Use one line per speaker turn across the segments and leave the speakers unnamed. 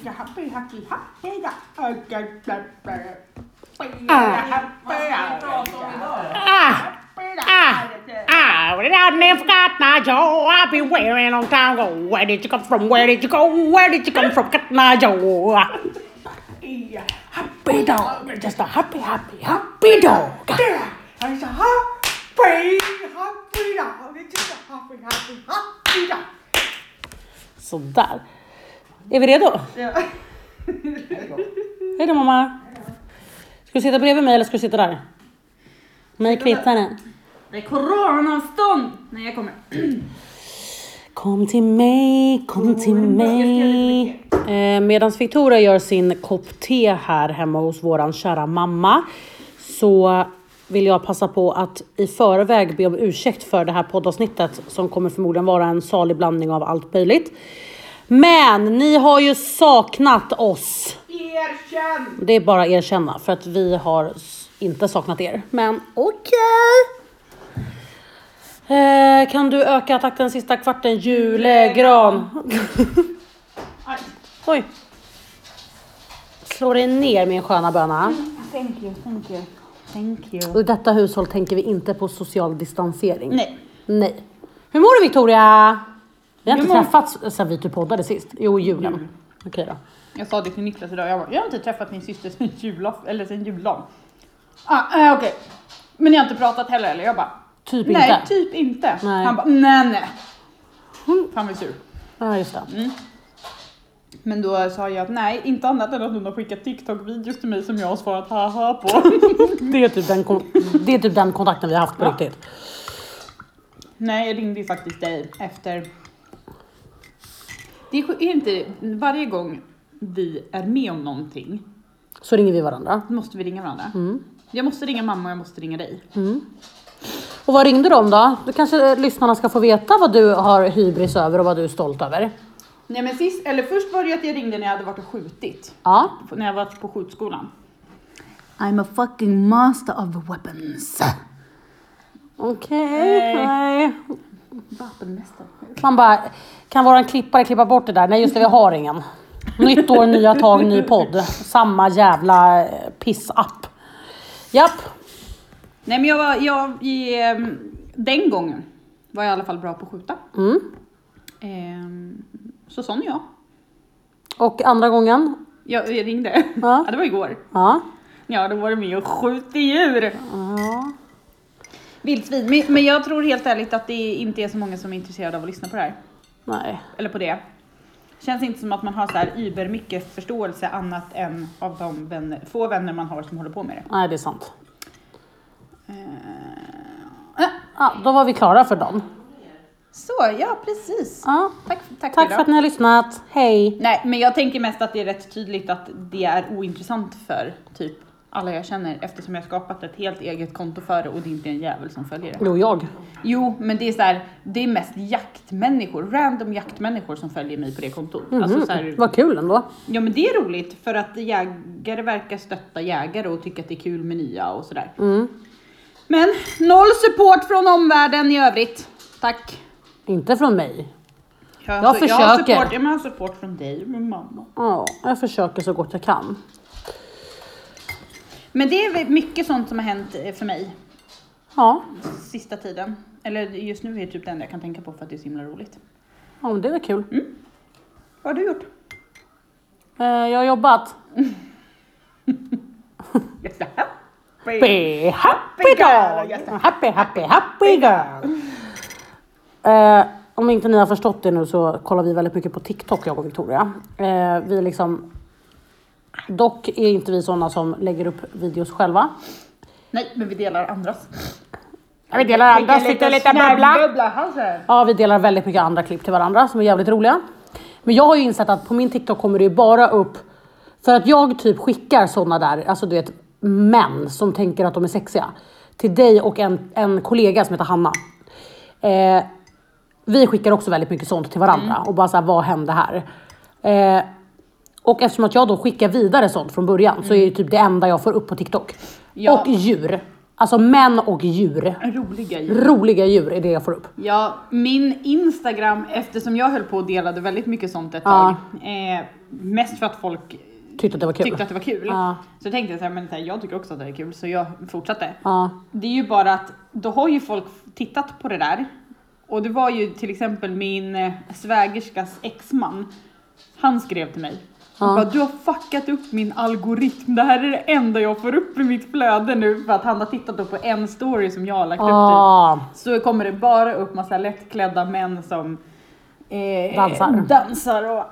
happy, happy, happy, da.
Ah. Ah, ah, ah, without name forgot Nigel. I've been waiting a long time ago. Where did you come from? Where did you go? Where did you come from? Cat Nigel. Happy dog. You're Just a happy, happy, happy dog. Sådär. Är vi redo? Hej då mamma. Ska du sitta bredvid mig eller ska du sitta där? Mig kvittar det.
Det är coronastånd! Nej, jag kommer.
Kom till mig, kom till mig. Eh, Medan Victoria gör sin kopp te här hemma hos våran kära mamma så vill jag passa på att i förväg be om ursäkt för det här poddavsnittet som kommer förmodligen vara en salig blandning av allt möjligt. Men ni har ju saknat oss.
Erkänn!
Det är bara att erkänna för att vi har s- inte saknat er. Men okej. Eh, kan du öka takten sista kvarten? Julegran.
Aj,
Oj. Slå dig ner min sköna böna.
Mm.
Thank you, thank you, thank you.
I detta hushåll tänker vi inte på social distansering.
Nej.
Nej. Hur mår du Victoria? Vi har
Jag
inte
mår-
träffats sen vi typ poddade sist. Jo, julen. Okej då.
Jag sa det till Niklas idag, jag bara, jag har inte träffat min syster sen julafton, eller sen juldagen. Ah, eh, okej. Men ni har inte pratat heller eller? Jag bara,
Typ
nej
inte.
typ inte.
Nej.
Han bara, nej nej. Han var sur.
Ja, just det.
Men då sa jag att nej, inte annat än att hon har skickat TikTok-videos till mig som jag har svarat haha på.
Det är typ den, kon- det är typ den kontakten vi har haft på
Ja.
riktigt.
nej, jag ringde ju faktiskt dig efter. Det är sj- är inte varje gång vi är med om någonting
Så ringer vi varandra.
måste vi ringa varandra. Jag måste ringa mamma och jag måste ringa dig.
Och vad ringde du om då? Då kanske eh, lyssnarna ska få veta vad du har hybris över och vad du är stolt över.
Nej men sist, eller först var det ju att jag ringde när jag hade varit och skjutit.
Ja.
När jag var på skjutskolan.
I'm a fucking master of weapons.
Okej.
Nej.
Nej.
Vapenmästare.
Man bara, kan våran klippare klippa bort det där? Nej just det, vi har ingen. Nytt år, nya tag, ny podd. Samma jävla eh, pissapp. Japp.
Nej men jag var, jag, i, ehm, den gången var jag i alla fall bra på att skjuta.
Mm.
eh,
Ehm, så sån är jag.
Och andra gången?
jag. Jag ringde.
Ja.
Ja. det var igår.
Ja.
Ja, då var det med och skjutit djur.
ja.
Vildsvin. Men- Men jag tror helt ärligt att det inte är så många som är intresserade av att lyssna på det här.
Nej.
Eller på det. Känns inte som att man har så här über mycket förståelse annat än av de vänner, få vänner man har som håller på med det.
Nej, det är sant.
Eh,
Ja, då var vi klara för dagen.
Så, ja precis.
Ja.
Tack, tack,
Tack
för
för
idag.
att ni har lyssnat. Hej.
Nej, men jag tänker mest att det är rätt tydligt att det är ointressant för typ alla jag känner eftersom jag har skapat ett helt eget konto för det och det inte är en jävel som följer det.
Jo, jag.
Jo, men det är så här, det är mest jaktmänniskor, random jaktmänniskor som följer mig på det kontot. Alltså så här,
Vad kul ändå.
ja men det är roligt för att jägare verkar stötta jägare och tycka att det är kul med nya och sådär.
Mm.
Men noll support från omvärlden i övrigt. Tack.
Inte från mig.
Jag,
Jag
Jag har
försöker.
support, jag har support från dig och min mamma.
Ja, jag försöker så gott jag kan.
Men det är väl mycket sånt som har hänt eh, för mig
Ja,
sista tiden. Eller just nu är det typ det enda jag kan tänka på för att det är så himla roligt.
ja men det var kul.
Vad har du gjort?
Eh, jag har jobbat.
Yes, aha.
Happy, happy dog! Happy, happy, happy girl! Eh, om inte ni har förstått det nu så kollar vi väldigt mycket på TikTok, jag och Victoria. Eh, vi liksom... Dock är inte vi sådana som lägger upp videos själva.
Nej, men vi delar andras.
Vi delar andras, sitter lite bubbla.
bubbla.
Ja, vi delar väldigt mycket andra klipp till varandra som är jävligt roliga. Men jag har ju insett att på min TikTok kommer det ju bara upp, för att jag typ skickar sådana där, alltså du vet män som tänker att de är sexiga, till dig och en, en kollega som heter Hanna. Eh, vi skickar också väldigt mycket sånt till varandra och bara såhär, vad hände här? Eh, och eftersom att jag då skickar vidare sånt från början så är det typ det enda jag får upp på TikTok.
Ja.
Och djur. Alltså män och djur.
Roliga djur.
Roliga djur är det jag får upp.
Ja, min Instagram, eftersom jag höll på och delade väldigt mycket sånt ett
Ja.
tag, eh, mest för att folk
Tyckte att det var kul.
tyckte att det var kul.
Ja.
Så tänkte jag så här, men så här, jag tycker också att det är kul, så jag fortsatte.
Ja.
Det är ju bara att då har ju folk tittat på det där. Och det var ju till exempel min eh, svägerskas exman. Han skrev till mig. Han bara, du har fuckat upp min algoritm. Det här är det enda jag får upp i mitt flöde nu för att han har tittat då på en story som jag har lagt upp. Typ
Ah,
så kommer det bara upp massa lättklädda män som eh,
Dansar.
dansar och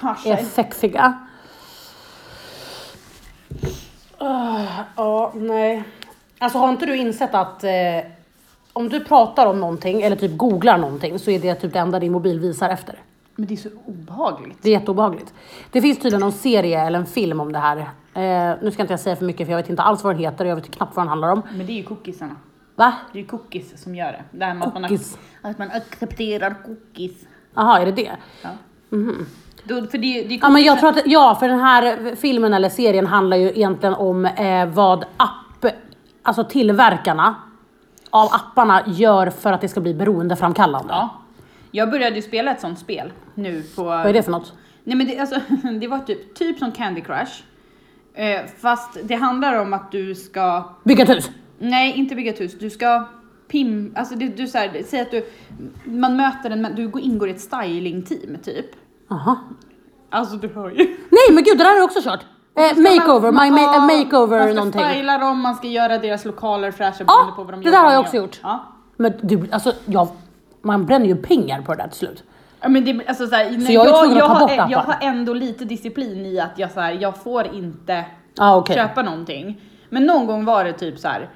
har
är
sig.
sexiga. Ah, Ja, nej. Alltså har inte du insett att eh, om du pratar om någonting eller typ googlar någonting så är det typ det enda din mobil visar efter.
Men det är så obehagligt.
Det är jätteobehagligt. Det finns tydligen någon serie eller en film om det här. Eh, nu ska inte jag säga för mycket för jag vet inte alls vad den heter och jag vet knappt vad den handlar om.
Men det är ju cookiesarna.
Va?
Det är ju cookies som gör det. Det här med att man,
Cookies.
att man accepterar cookies.
Jaha, är det det?
Ja. Då, för det, det är
Mhm. Ja, men jag tror att, ja, för den här filmen eller serien handlar ju egentligen om eh, vad app, alltså tillverkarna av apparna gör för att det ska bli beroendeframkallande.
Ja. Jag började ju spela ett sånt spel nu på...
Vad är det för något?
Nej men det, alltså, det var typ, typ som Candy Crush. Eh, fast det handlar om att du ska
Bygga ett hus!
Nej, inte bygga ett hus. Du ska pim, alltså det, du så här, säg att du, man möter en, du går- ingår i ett stylingteam typ.
Jaha.
Alltså du hör ju.
Nej men gud, det där har jag också kört! Eh, makeover, my ma-
Ja,
makeover
Man
någonting.
ska styla dem, man ska göra deras lokaler fräscha
Ja,
beroende på vad de
det där har
med.
jag också gjort.
Ja.
Men du, alltså, jag, man bränner ju pengar på det där till slut.
Ja, Men det, alltså, så här, när
jag är
jag,
tvungen att ta
har,
bort
jag
appar.
har ändå lite disciplin i att jag, så här, jag får inte
Ja ah, okej.
köpa någonting. Men någon gång var det typ så här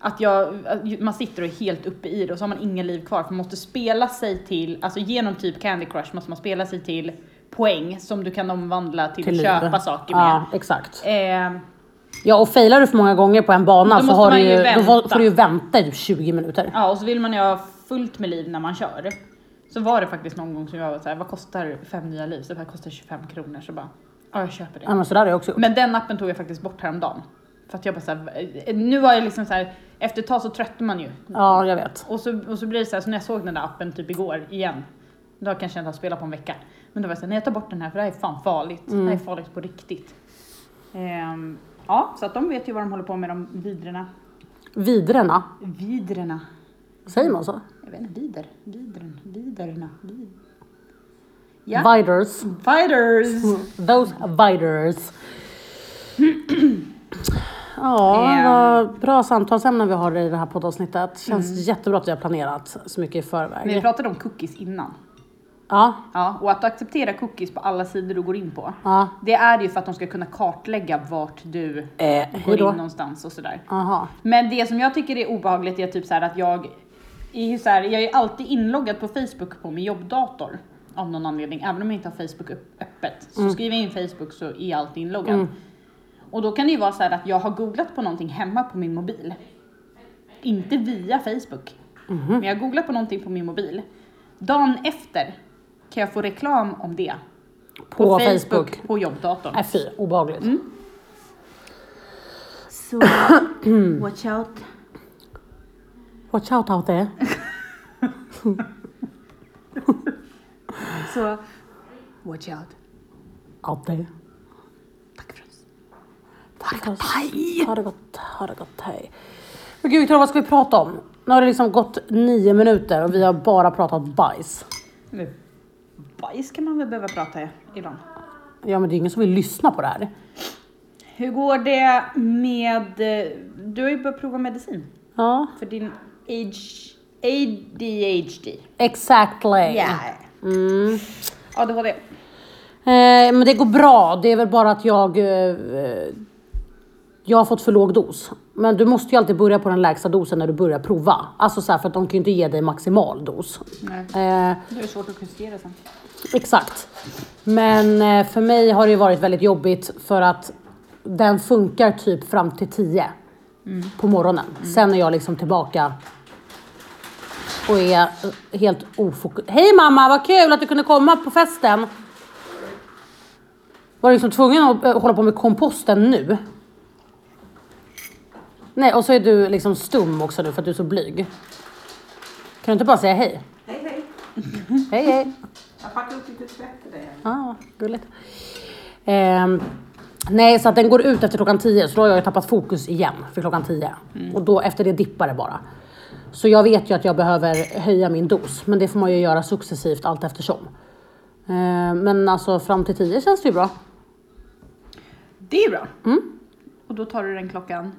att jag, att man sitter och är helt uppe i det och så har man inga liv kvar för man måste spela sig till, alltså genom typ Candy Crush måste man spela sig till poäng som du kan omvandla till,
Till
att
liv. Ah.
köpa saker med.
Ja, exakt.
Eh,
Ja och failar du för många gånger på en bana
Då
så
måste
har
man
du
ju
ju, då
vänta.
får du ju vänta i typ 20 minuter.
ja, och så vill man ju ha fullt med liv när man kör. Så var det faktiskt någon gång som jag var så här, vad kostar fem nya liv? Så det här kostar 25 kronor. Så bara, ja jag köper det.
Ja men sådär har jag också gjort.
Men den appen tog jag faktiskt bort häromdagen. För att jag bara så här, nu har jag liksom så här, efter ett tag så tröttnar man ju.
Ja jag vet.
Och så, och så blir det så här, så när jag såg den där appen typ igår igen, då kanske jag inte har spelat på en vecka. Men då var jag såhär, nej jag tar bort den här för det här är fan farligt. Det här är farligt på riktigt. Ehm, ja, så att de vet ju vad de håller på med, de vidrena.
Vidrena,
Vidrena.
säger man så?
Jag vet inte, vider, vidren, viderna, vid. Ja.
Viders.
Fighters!
Those viders. Ja,
Ehm.
vad bra samtalsämnen vi har i det här poddavsnittet. Känns jättebra att vi har planerat så mycket i
Mm. Men vi
förväg.
pratade om cookies innan.
Ja,
Ja, och att acceptera cookies på alla sidor du går in på.
ja.
Det är ju för att de ska kunna kartlägga vart du
Eh,
går in
hejdå.
någonstans och sådär.
Aha.
Men det som jag tycker är obehagligt är typ så här att jag är ju så här, jag är alltid inloggad på Facebook på min jobbdator av någon anledning. Även om jag inte har Facebook upp- öppet
Mm.
så skriver jag in Facebook så är jag alltid inloggad. Och då kan det ju vara så här att jag har googlat på någonting hemma på min mobil. Inte via Facebook.
Mhm.
Men jag har googlat på någonting på min mobil. Dagen efter kan jag få reklam om det.
På, Facebook.
På jobbdatorn.
Nej fy,
Mm.
obehagligt.
So, watch out.
Watch out out there.
Så, watch out.
Out there.
Tack för oss.
Tack och hej! Ha det gott, ha det gott, hej. Men gud Victoria, vad ska vi prata om? Nu har det liksom gått nio minuter och vi har bara pratat bajs.
Nu. Bajs kan man väl behöva prata i- ibland.
Ja men det är ingen som vill lyssna på det här.
Hur går det med... eh, Du har ju börjat prova medicin
Ja.
för din age, ADHD.
Exactly.
Mm. ADHD.
Eh, men det går bra, det är väl bara att jag... Eh, jag har fått för låg dos. Men du måste ju alltid börja på den lägsta dosen när du börjar prova. Alltså så här, för att de kan ju inte ge dig maximal dos.
Nej.
Eh,
Det är svårt att justera sen.
Exakt. Men eh, för mig har det ju varit väldigt jobbigt för att den funkar typ fram till 10 på morgonen. Sen är jag liksom tillbaka och är eh, helt ofokuserad. Hej mamma, vad kul att du kunde komma på festen. Var du liksom tvungen att eh, hålla på med komposten nu? Nej, och så är du liksom stum också nu för att du är så blyg. Kan du inte bara säga hej?
Hej hej!
Hej, hej.
Jag packar upp lite tvätt till dig.
Ah, gulligt. Ehm, nej, så att den går ut efter klockan 10, så då har jag ju tappat fokus igen för klockan 10. Och då efter det dippar det bara. Så jag vet ju att jag behöver höja min dos, men det får man ju göra successivt allt eftersom. Ehm, men alltså fram till 10 känns det ju bra.
Det är bra.
Mm.
Och då tar du den klockan,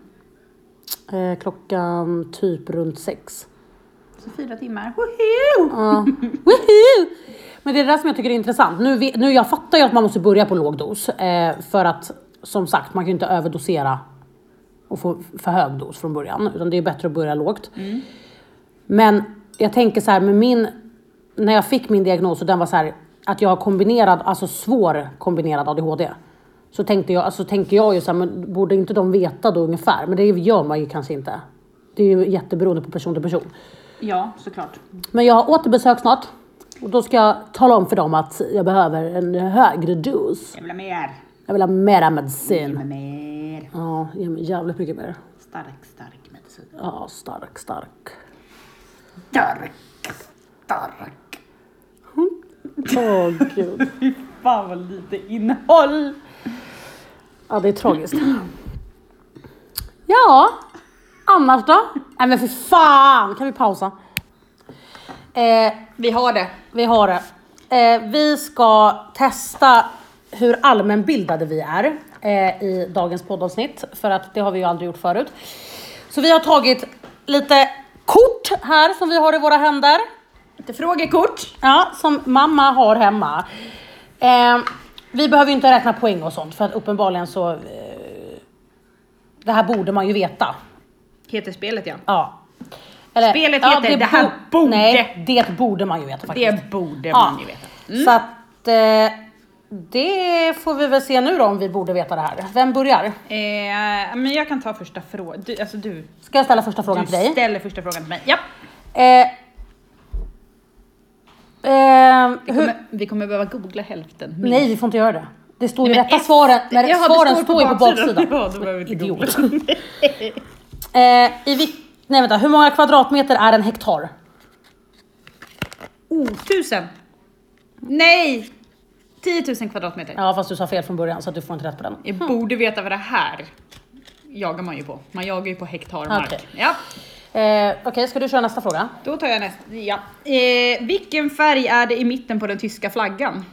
Ehm, klockan typ runt 6.
så fyra timmar. Woho!
Ja. Woohoo! Men det är det där som jag tycker är intressant. Nu, vi- nu jag fattar ju att man måste börja på låg dos. Eh, för att som sagt, man kan ju inte överdosera och få för hög dos från början. Utan det är bättre att börja lågt. Men jag tänker så här med min, när jag fick min diagnos och den var så här att jag har kombinerad, alltså svår kombinerad ADHD. Så tänkte jag, alltså tänker jag ju så här, men borde inte de veta då ungefär? Men det gör man ju kanske inte. Det är ju jätteberoende på person till person.
Ja, såklart.
Men jag har återbesök snart. Och då ska jag tala om för dem att jag behöver en högre dos.
Jag vill ha mer.
Jag vill ha mera
Ge
medicin.
mig mer.
Ja, ge mig jävligt mycket mer.
Stark, stark medicin.
Ja, stark, stark.
Stark, stark.
Åh gud.
Fan vad lite innehåll.
Ja, det är tragiskt. Ja, annars då? Nej men för fan, kan vi pausa? Eh,
Vi har det.
vi har det. Eh, vi ska testa hur allmänbildade vi är eh, i dagens poddavsnitt. För att det har vi ju aldrig gjort förut. Så vi har tagit lite kort här som vi har i våra händer.
Lite frågekort.
Ja, som mamma har hemma. Eh, vi behöver ju inte räkna poäng och sånt för att uppenbarligen så... Eh, det här borde man ju veta.
Heter spelet ja.
Ja. Eller,
Spelet heter Det här
bo-
borde.
Nej, det borde man ju veta faktiskt.
Det borde
Ja.
man ju veta. Mm.
Så att eh, det får vi väl se nu då om vi borde veta det här. Vem börjar?
Eh, men jag kan ta första frågan. Du, alltså du,
Ska jag ställa första
du
frågan till dig?
ställer första frågan till mig. Ja.
Eh, eh, hur?
Kommer, vi kommer behöva googla hälften. minst.
Nej, vi får inte göra det. Det står ju
Nej, men
rätta
efter-
svaren. När
Jaha, det
svaren
står på
står ju på
baksidan.
baksidan.
Ja, då behöver vi inte
Idiot. eh, i vil- Nej vänta, hur många kvadratmeter är en hektar?
Oh, tusen! Nej! 10 000 kvadratmeter.
Ja Hm. fast du sa fel från början så att du får inte rätt på den.
Jag borde veta vad det här jagar man ju på. Man jagar ju på hektar mark.
Okej.
Ja,
Eh, Okej, ska du köra nästa fråga?
då tar jag nästa. Ja. Eh, vilken färg är det i mitten på den tyska flaggan?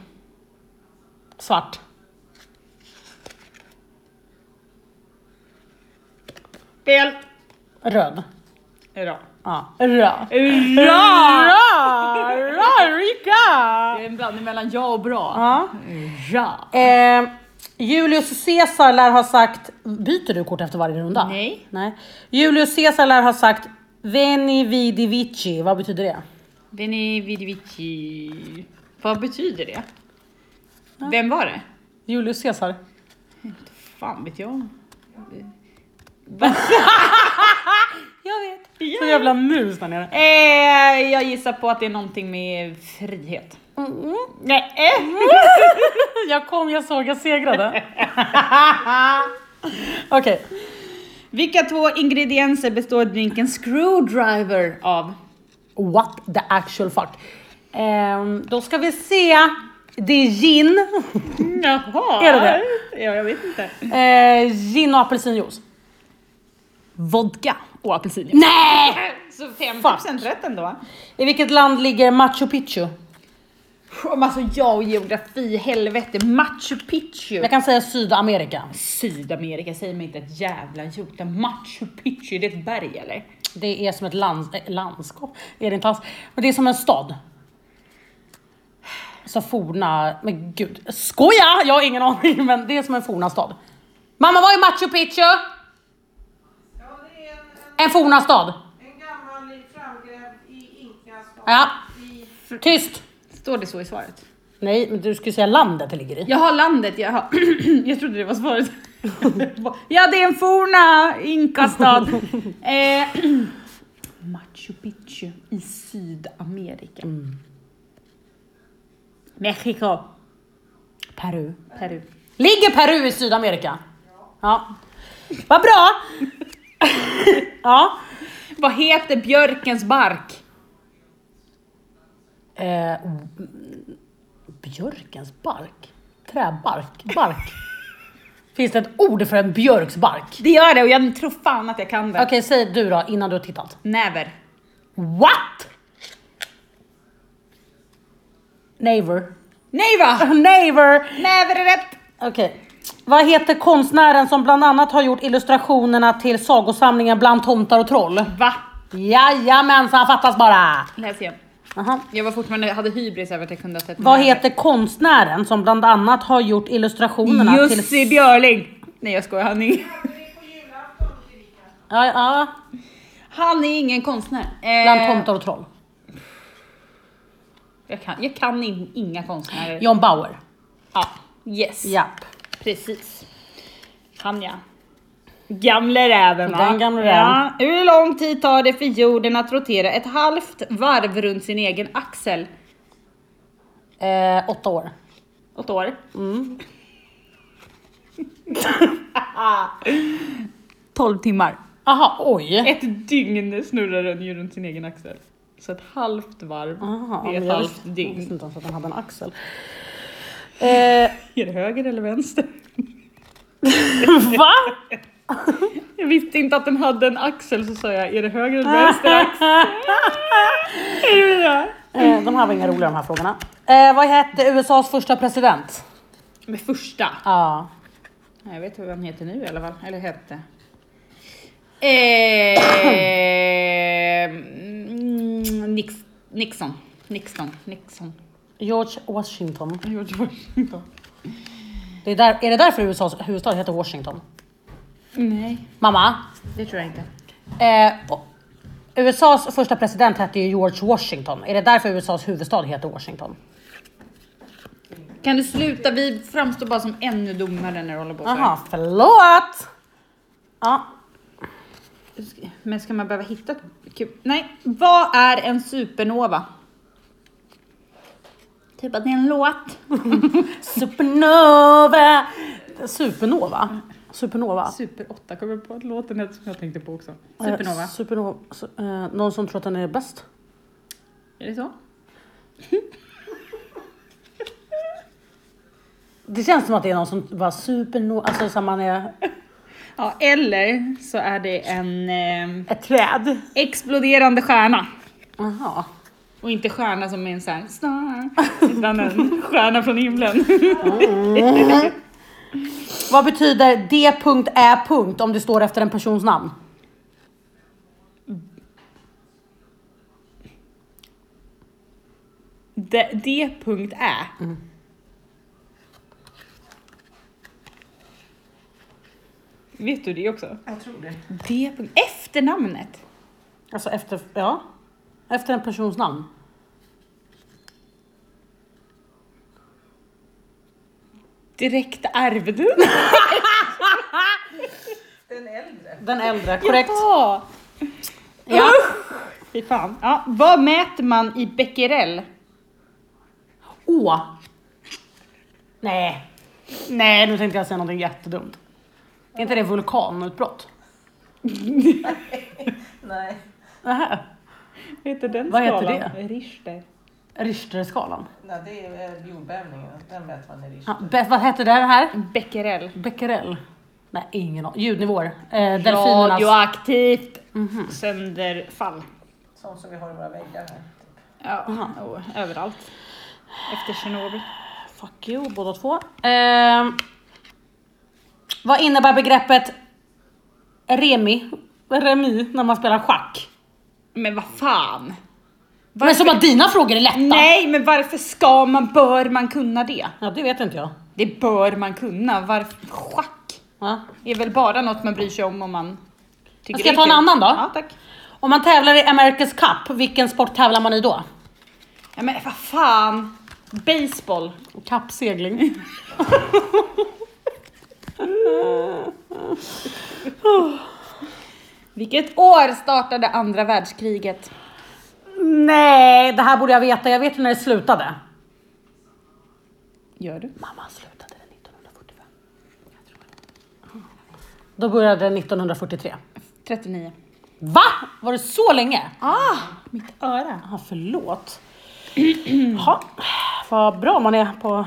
Svart.
Fel!
Röd.
Bra.
Ja. Röd.
Bra!
Bra! Bra Rika!
Det är en blandning mellan ja och bra.
Ja.
Ja.
Eh, Julius Caesar lär ha sagt, byter du kort efter varje runda?
Nej.
Nej. Julius Caesar lär ha sagt Veni vidi vici, vad betyder det?
Veni vidi vici. Vad betyder det? Vem var det?
Julius Caesar.
Fan vet jag.
Jag vet. Så jävla mus där nere.
Eh, jag gissar på att det är någonting med frihet. Nej. eh.
Mm. Jag kom, jag såg, jag segrade. Okej.
Vilka två ingredienser består drinken screwdriver av?
What the actual fuck. Ehm, då ska vi se. Det är gin.
Jaha.
Är det det?
Ja, jag vet inte.
Eh, gin och apelsinjuice.
Vodka och apelsinjuice.
Nej!
Så 50%
Fuck.
rätt ändå.
I vilket land ligger Machu Picchu?
Om alltså jag och geografi, helvete. Machu Picchu.
Jag kan säga Sydamerika.
Sydamerika säger mig inte ett jävla jota. Machu Picchu, är det ett berg eller?
Det är som ett lands, eh, landskap, är det inte alls. Men det är som en stad. Så forna, men gud, skoja! Jag har ingen aning, men det är som en forna stad. Mamma, vad är Machu Picchu?
Ja, det är en,
En forna stad.
en, en gammal framgrävd i Inkas
Ja.
i
Tyst!
Står det så i svaret?
Nej, men du skulle säga landet det ligger i.
Jag har landet, jag har... jag trodde det var svaret. ja, det är en forna inkastad. eh, Machu Picchu i Sydamerika. Mexiko.
Peru.
Peru.
Ligger Peru i Sydamerika? Ja. Vad bra! Ja.
Vad heter björkens bark?
Eh, mm, björkens bark? Träbark? Bark? Finns det ett ord för en björks bark?
Det gör det och jag tror fan att jag kan det.
Okej, säg du då innan du har tittat.
Näver.
What? Naver.
Nej va?
Naver!
Näver är rätt!
Okej. Vad heter konstnären som bland annat har gjort illustrationerna till sagosamlingen Bland tomtar och troll?
Va?
Jajamensan, fattas bara!
Läs igen.
Aha.
Jag var fortfarande, hade hybris över att jag kunde ha sett
Vad
näver.
heter konstnären som bland annat har gjort illustrationerna till...
Jussi Björling! Nej jag skojar, han är ingen,
Det är på julafton, Erika.
Ja, ja.
han är ingen konstnär. Eh,
Bland tomtar och troll.
Jag kan, jag kan in, inga konstnärer.
John Bauer.
Ja, yes.
Japp.
Precis. Han ja. Gamle räven va?
Den gamle
ja. Hur lång tid tar det för jorden att rotera ett halvt varv runt sin egen axel?
Eh, åtta år.
Åtta år? Mm. 12 timmar.
Aha, oj.
Ett dygn snurrar den ju runt sin egen axel. Så ett halvt varv,
Aha,
det är
men
ett
jag
halvt
visste- Jag
dygn.
visste inte ens att den hade en axel. Eh,
Är det höger eller vänster?
va?
Jag visste inte att den hade en axel så sa jag, är det höger eller vänster axel?
Eh, de här var inga roliga de här frågorna. Eh, vad hette USAs första president?
Med första.
Ja.
Nej, Jag vet hur han heter nu i alla fall, eller hette. Eh, Ehm, mm, Nix, Nixon, Nixon, Nixon. Mm.
George Washington.
George Washington.
Det är, där, är det därför USAs huvudstad heter Washington?
Nej,
Mamma,
det tror jag inte.
eh, och- USAs första president hette ju George Washington. Är det därför USAs huvudstad heter Washington?
Kan du sluta? Vi framstår bara som ännu dummare när du håller på så här.
Jaha, förlåt! Ja,
Men ska man behöva hitta ett kul? Nej, vad är en supernova? Typ att det är en låt.
supernova! Supernova? Supernova?
Super 8 kommer jag på att låten heter som jag tänkte på också. Supernova.
Eh, supernova. su- eh, någon som tror att den är bäst?
Är det så?
Det känns som att det är någon som bara supernova, alltså som man är
Ja, eller så är det en eh,
ett träd.
exploderande stjärna.
Jaha.
Och inte stjärna som är en sån här star, utan en stjärna från himlen.
Vad betyder D.Ä. om det står efter en persons namn?
D- D.Ä. Vet du det också?
Jag tror det.
D. Efternamnet.
Alltså efter, ja. Efter en persons namn.
Direkt ärvd.
Den äldre.
Den äldre, korrekt.
Ja.
Ja.
Fy fan. Ja, vad mäter man i becquerel?
Å. Nej. Nej, nu tänkte jag säga någonting jättedumt. Är inte det vulkanutbrott?
Nej.
Nähä.
Vad heter den
Vad heter
det? Richter.
Richterskalan.
Nej, det är eh, jordbävningen. Den mäter man i risk.
Ja, be- vad hette det här?
Becquerel.
Becquerel? Nej, ingen aning. Ljudnivåer. Eh, delfinernas... Mhm.
Radioaktivt sönderfall.
Sånt som vi har i våra väggar här.
Ja, och överallt. Efter Tjernobyl.
Fuck you, båda två. Ehm, vad innebär begreppet remi? Remi, när man spelar schack?
Men vad fan.
Men som att dina frågor är lätta.
Nej, men varför ska man, bör man kunna det?
Ja, det vet inte jag.
Det bör man kunna. Varför? Schack
Va?
är väl bara något man bryr sig om om man tycker
Ska jag
det är
ta en
kul.
annan då?
Ja, tack.
Om man tävlar i America's Cup, vilken sport tävlar man i då?
Ja, men vad fan. Baseball.
Kappsegling.
Vilket år startade andra världskriget?
Nej, det här borde jag veta. Jag vet ju när det slutade.
Gör du?
Mamma slutade det 1945. Då började det 1943.
39.
Va? Var det så länge?
Ah! Mitt öra.
Ja, förlåt. Jaha, vad bra man är på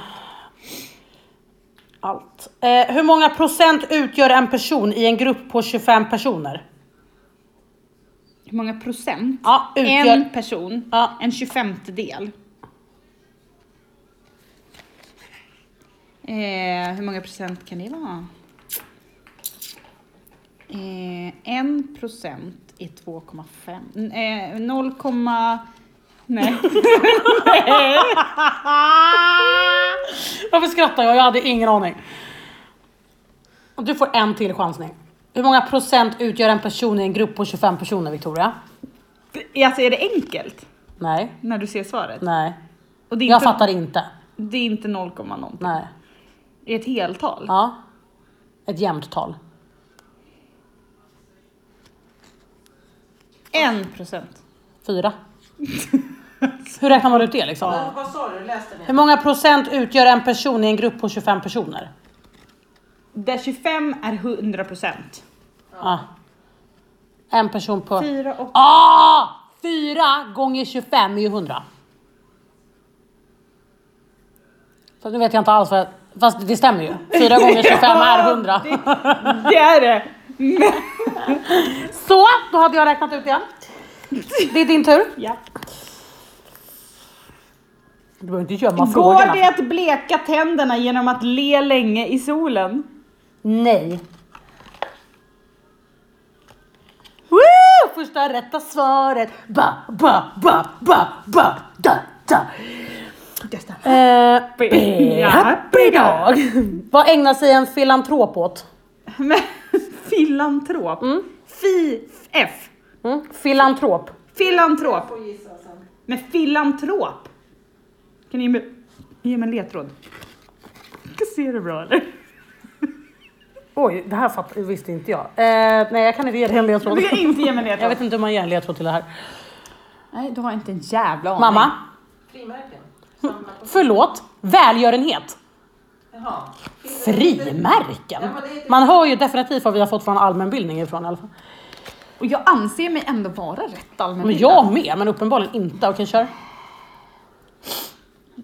allt. Eh, hur många procent utgör en person i en grupp på 25 personer?
Hur många procent?
Ja, utgör...
En person.
Ja.
En 25 del. Eh, hur många procent kan det vara? Eh, en procent är 2,5. N- Eh, 0, nej.
Varför skrattar jag? Jag hade ingen aning. Och Du får en till chansning. Hur många procent utgör en person i en grupp på 25 personer, Victoria?
Alltså är det enkelt
Nej,
när du ser svaret?
nej.
Och det är
Jag
inte,
fattar inte.
Det är inte 0, någonting.
Nej.
Det är ett heltal.
Ja. Ett jämnt tal.
En procent.
Fyra. Hur räknar man ut det liksom?
Vad- Vad sa du? Läs den
Hur
igen.
många procent utgör en person i en grupp på 25 personer?
Där 25 är 100 procent.
Ja. En person på...
Fyra och...
Ah! Fyra gånger 25 är ju 100. Så nu vet jag inte alls vad jag... Fast det stämmer ju. Fyra gånger 25 är 100.
Det är det!
Så, då hade jag räknat ut igen. Det är din tur.
Ja.
Du behöver inte gömma
Går
frågorna.
det att bleka tänderna genom att le länge i solen?
Nej. Woo! Första rätta svaret. Ba, ba, ba, ba, ba, da, da.
Testa.
Eh,
Happy-
happy dag. Vad ägnar sig en filantrop åt?
Men filantrop. Fi... F.
Mm? Filantrop.
Filantrop.
Får gissa sen.
Men filantrop. Kan ni ge mig, ge mig en ledtråd? Ser du bra eller?
Oj, det här fatt, visste inte jag. Eh, nej, jag kan inte ge dig en ledtråd.
Du kan inte ge mig en ledtråd.
Jag vet inte hur man ger en ledtråd till det här.
Nej, du har inte en jävla aning.
Mamma,
Frimärken?
förlåt. Välgörenhet.
Jaha. Finns det-
Frimärken? Man hör ju definitivt vad vi har fått från allmänbildning ifrån i alla fall.
Och jag anser mig ändå vara rätt
Men
allmänbildad.
jag med, men uppenbarligen inte. Okej, kör.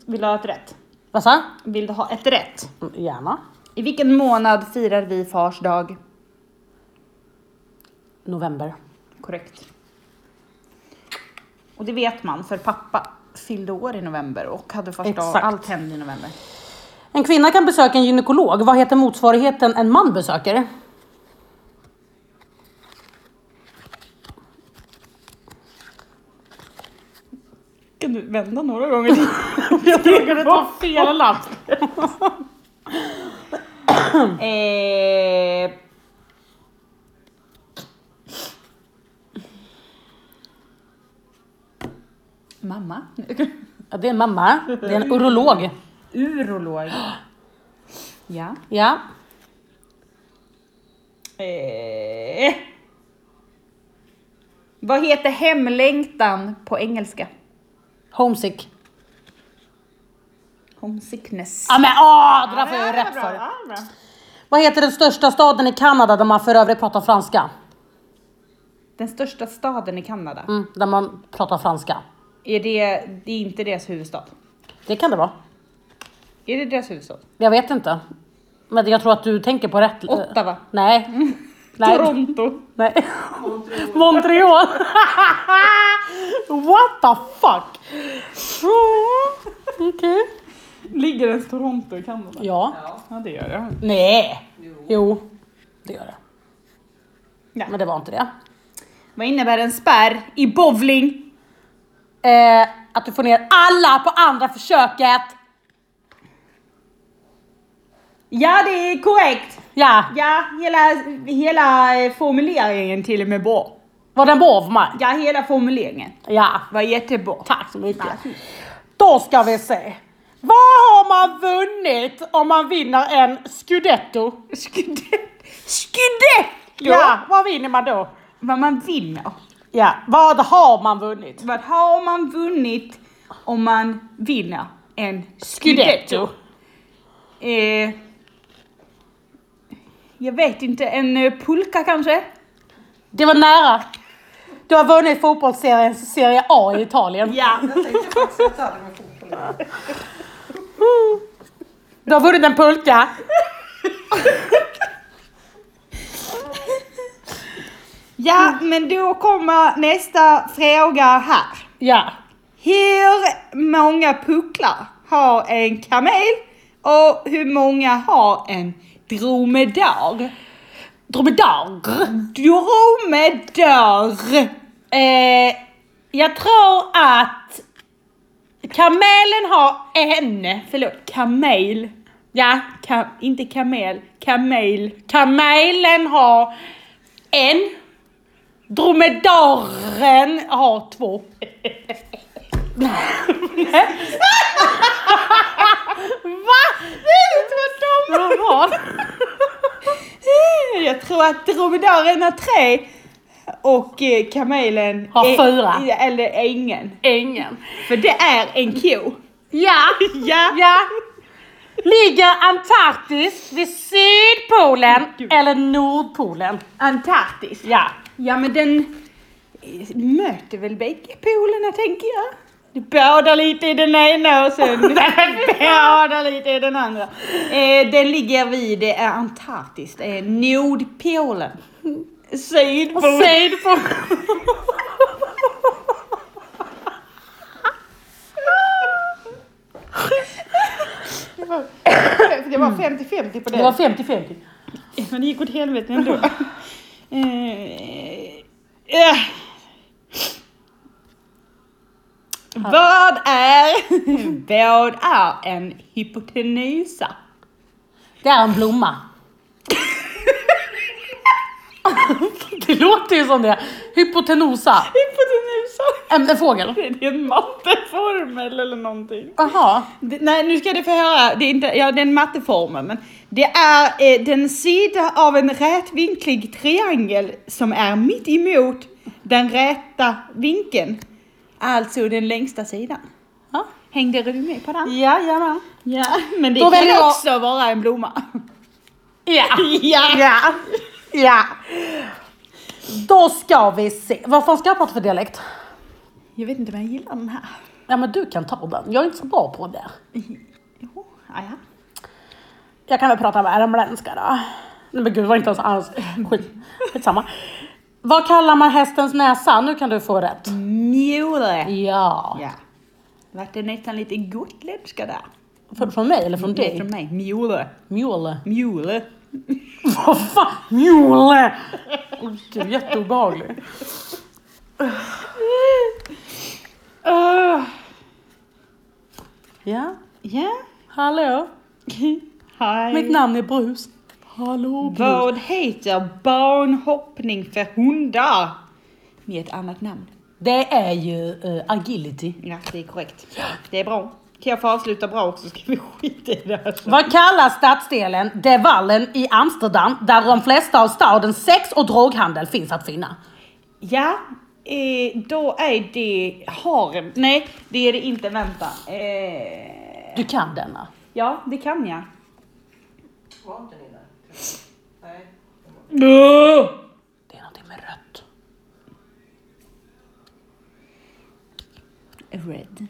Vill du ha ett rätt?
Vad sa?
Vill du ha ett rätt?
Mm, Gärna.
I vilken månad firar vi fars dag?
November.
Korrekt. Och det vet man för pappa fyllde år i november och hade fars dag.
Exakt.
Allt hände i november.
En kvinna kan besöka en gynekolog. Vad heter motsvarigheten en man besöker?
Kan du vända några gånger? jag råkade ta fel lapp. eh... Mamma?
Ja, det är en mamma. Det är en urolog.
Urolog. ja.
Ja.
Eh. Vad heter hemlängtan på engelska?
Homesick.
Homesickness.
Ja men åh, det där
Ah,
får jag ju rätt för. Vad heter den största staden i Kanada där man för övrigt pratar franska?
Den största staden i Kanada.
Mm, där man pratar franska.
Är det, det är inte deras huvudstad?
Det kan det vara.
Är det deras huvudstad?
Jag vet inte. Men jag tror att du tänker på rätt.
Ottawa.
Nej. Eh, Nej.
Toronto.
Nej. Montreal. What the fuck? Okej.
Ligger ens Toronto i Kanada?
Ja.
Ja.
Ja det gör det.
Nej. Jo. Det gör det.
Ja.
Men det var inte det.
Vad innebär en spärr i bowling?
Eh, att du får ner alla på andra försöket.
Ja det är korrekt!
Ja.
Ja, hela, hela formuleringen till och med bra.
Var den bovmaj?
Ja, hela formuleringen
Ja.
var jättebra.
Tack så mycket. Då ska vi se. Vad har man vunnit om man vinner en scudetto?
Skydde!
Ja, vad vinner man då?
Vad man vinner.
Ja, vad har man vunnit?
Vad har man vunnit om man vinner en
Scudetto.
Eh, jag vet inte, en eh, pulka kanske?
Det var nära. Du har vunnit fotbollsserien Serie A i Italien.
Ja.
Jag tänkte faktiskt att det hade med fotboll att göra.
Du har vunnit en pulka.
Ja, men då kommer nästa fråga här.
Ja.
Hur många pucklar har en kamel och hur många har en dromedar?
Dromedar.
Dromedar!
Eh, jag tror att kamelen har en.
Förlåt, kamel.
Ja,
Ka- inte kamel, kamel.
kamelen har en. Dromedaren har två. Va? Det är inte vad de har.
Jag tror att dromedaren har tre och eh, kamelen
Har
är-
fyra.
Eller ingen.
Ingen.
För det är en ko.
Ja.
Ja.
ja. Ligger Antarktis vid Sydpolen eller Nordpolen?
Antarktis.
Ja.
Ja men den eh, möter väl bägge polerna tänker jag. Du badar lite i den ena och sen badar lite i den andra. Eh, den ligger vid eh, Antarktis, eh, Nordpolen. Sydpolen.
Sydpolen.
För Det var 50-50 på
Mm. Det var 50-50.
Men det gick åt helvete ändå. Eh, eh. Vad är, vad är en hypotenusa?
Det är en blomma. det låter ju som det. Hypotenusa.
Hypotenusa?
En, en fågel.
Det är en matteformel eller någonting.
Jaha.
Det, nej, nu ska du få höra. Det är inte, ja, den matteformen. Men det är eh, den sida av en rätvinklig triangel som är mitt emot den räta vinkeln. Alltså den längsta sidan.
Ja.
Hängde du med på den?
Jajamän.
Ja, men det
Då
kan
väljer jag-
också vara en blomma.
Ja.
Ja.
ja. Ja. Då ska vi se. Vad fan ska jag prata för dialekt?
Jag vet inte om jag gillar den här.
Ja men du kan ta den. Jag är inte så bra på det.
Jo, ja, ja.
Jag kan väl prata värmländska då. Nej men gud, det var inte ens alls... Skit. Skitsamma. Vad kallar man hästens näsa? Nu kan du få rätt.
Mjure.
Ja.
Ja. Vart det nästan lite gotländska där?
Från, från mig eller från
Det är
dig?
från mig. Mjure.
Mjole.
Mjure.
Vad fan? Mjole! Åh, Gud, jätteobehaglig.
Öh.
Ja,
Ja.
hallå?
Hej.
Mitt namn är Brus. Hallå Brus.
Vad heter banhoppning för hundar? Med ett annat namn.
Det är ju eh, agility.
Ja, det är korrekt. Det är bra. Kan jag få avsluta bra också ska vi skita i det här. sen.
Vad kallas stadsdelen De Wallen i Amsterdam där de flesta av stadens sex och droghandel finns att finna?
Ja, eh, då är det harm. Nej, det är det inte. Vänta. Eh,
Du kan denna.
ja, det kan jag.
Var inte ni där? Nej.
Det är någonting med rött.
Red.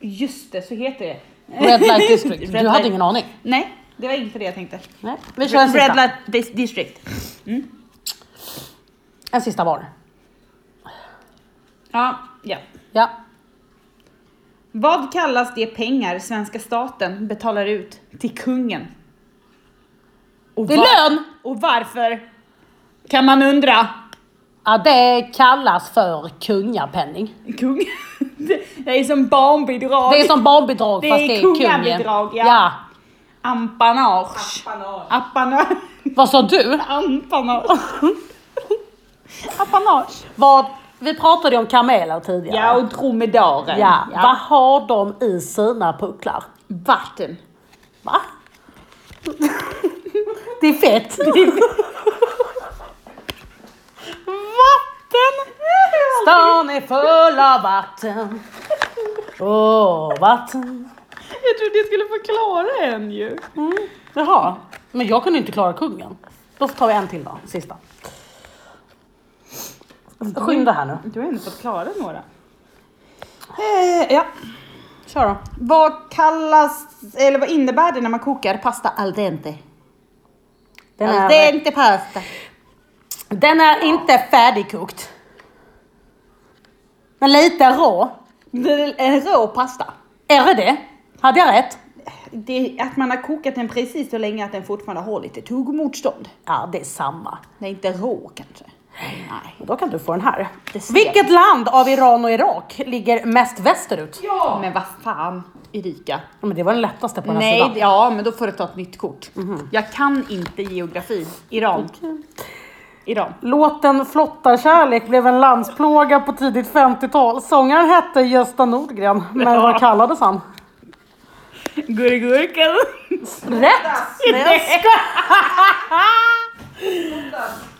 Just det, så heter det.
Red Light District.
Red
Du hade
light-
ingen aning?
Nej, det var inte det jag tänkte.
Nej. Vi kör en sista.
Red Light Dis- District.
En sista var.
Ja, ja.
Ja.
Vad kallas de pengar svenska staten betalar ut till kungen? Och
Det är
var-
lön!
Och varför? Kan man undra.
Ja, det kallas för kungapenning.
Kung. Det- Det är som barnbidrag.
Det är som barnbidrag
Det är
fast det är kungen.
kungabidrag, ja.
ja.
Ampanage.
Banan.
Appanage.
Vad sa du?
Ampanage. Appanage.
Vad, vi pratade ju om kameler tidigare.
Ja, och dromedaren.
Ja. Vad har de i sina pucklar?
Vatten.
Va? Det är fett.
Vatten!
Stan är full av vatten. Åh, vatten.
Jag trodde jag skulle förklara en ju.
Jaha. Men jag kunde inte klara kungen. Då tar vi en till då, sista. Skynda här nu.
Du har ändå fått klara några.
Eh, ja. Kör då.
Vad kallas, eller vad innebär det när man kokar pasta al dente?
Den
al
Alltså, är,
dente pasta.
den är inte färdigkokt. Men lite rå.
Det är en rå pasta.
Är det det? Hade jag rätt?
Det är att man har kokat den precis så länge att den fortfarande har lite tuggmotstånd.
Ja, det är samma.
Den är inte rå kanske. Nej.
Då kan du få den här.
Det ser-
Vilket land av Iran och Irak ligger mest västerut?
Ja! Men vad fan, Erika.
Ja, men det var den lättaste på den här
Nej,
sidan. Mhm.
ja men då får du ta ett nytt kort. Jag kan inte geografi. Iran. Iran.
Låten Flottarkärlek blev en landsplåga på tidigt 50-tal. Sångaren hette Gösta Nordgren, men vad kallades han?
Gurgurkel.
Rätt! Men jag ska-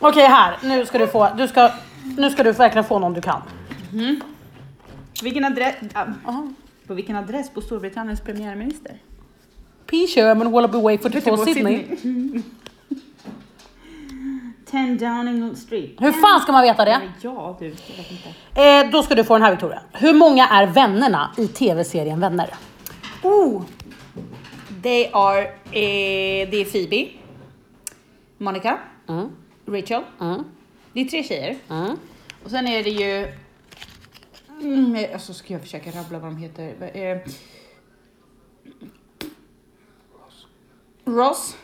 Okej här, nu ska du få, du ska, nu ska du verkligen få någon du kan.
Vilken adress? ah, På vilken adress på Storbritanniens premiärminister?
P. Sherman Wallaby Way 42 Sydney.
Ten Downing Street.
Hur fan ska man veta det?
Ja du, jag vet inte.
Eh, då ska du få den här Victoria. Hur många är vännerna i tv-serien Vänner?
Oh! They are, eh, det är Phoebe, Monica, Rachel. Det är tre tjejer. Och sen är det ju... Mm, alltså ska jag försöka rabbla vad de heter. Eh, Ross.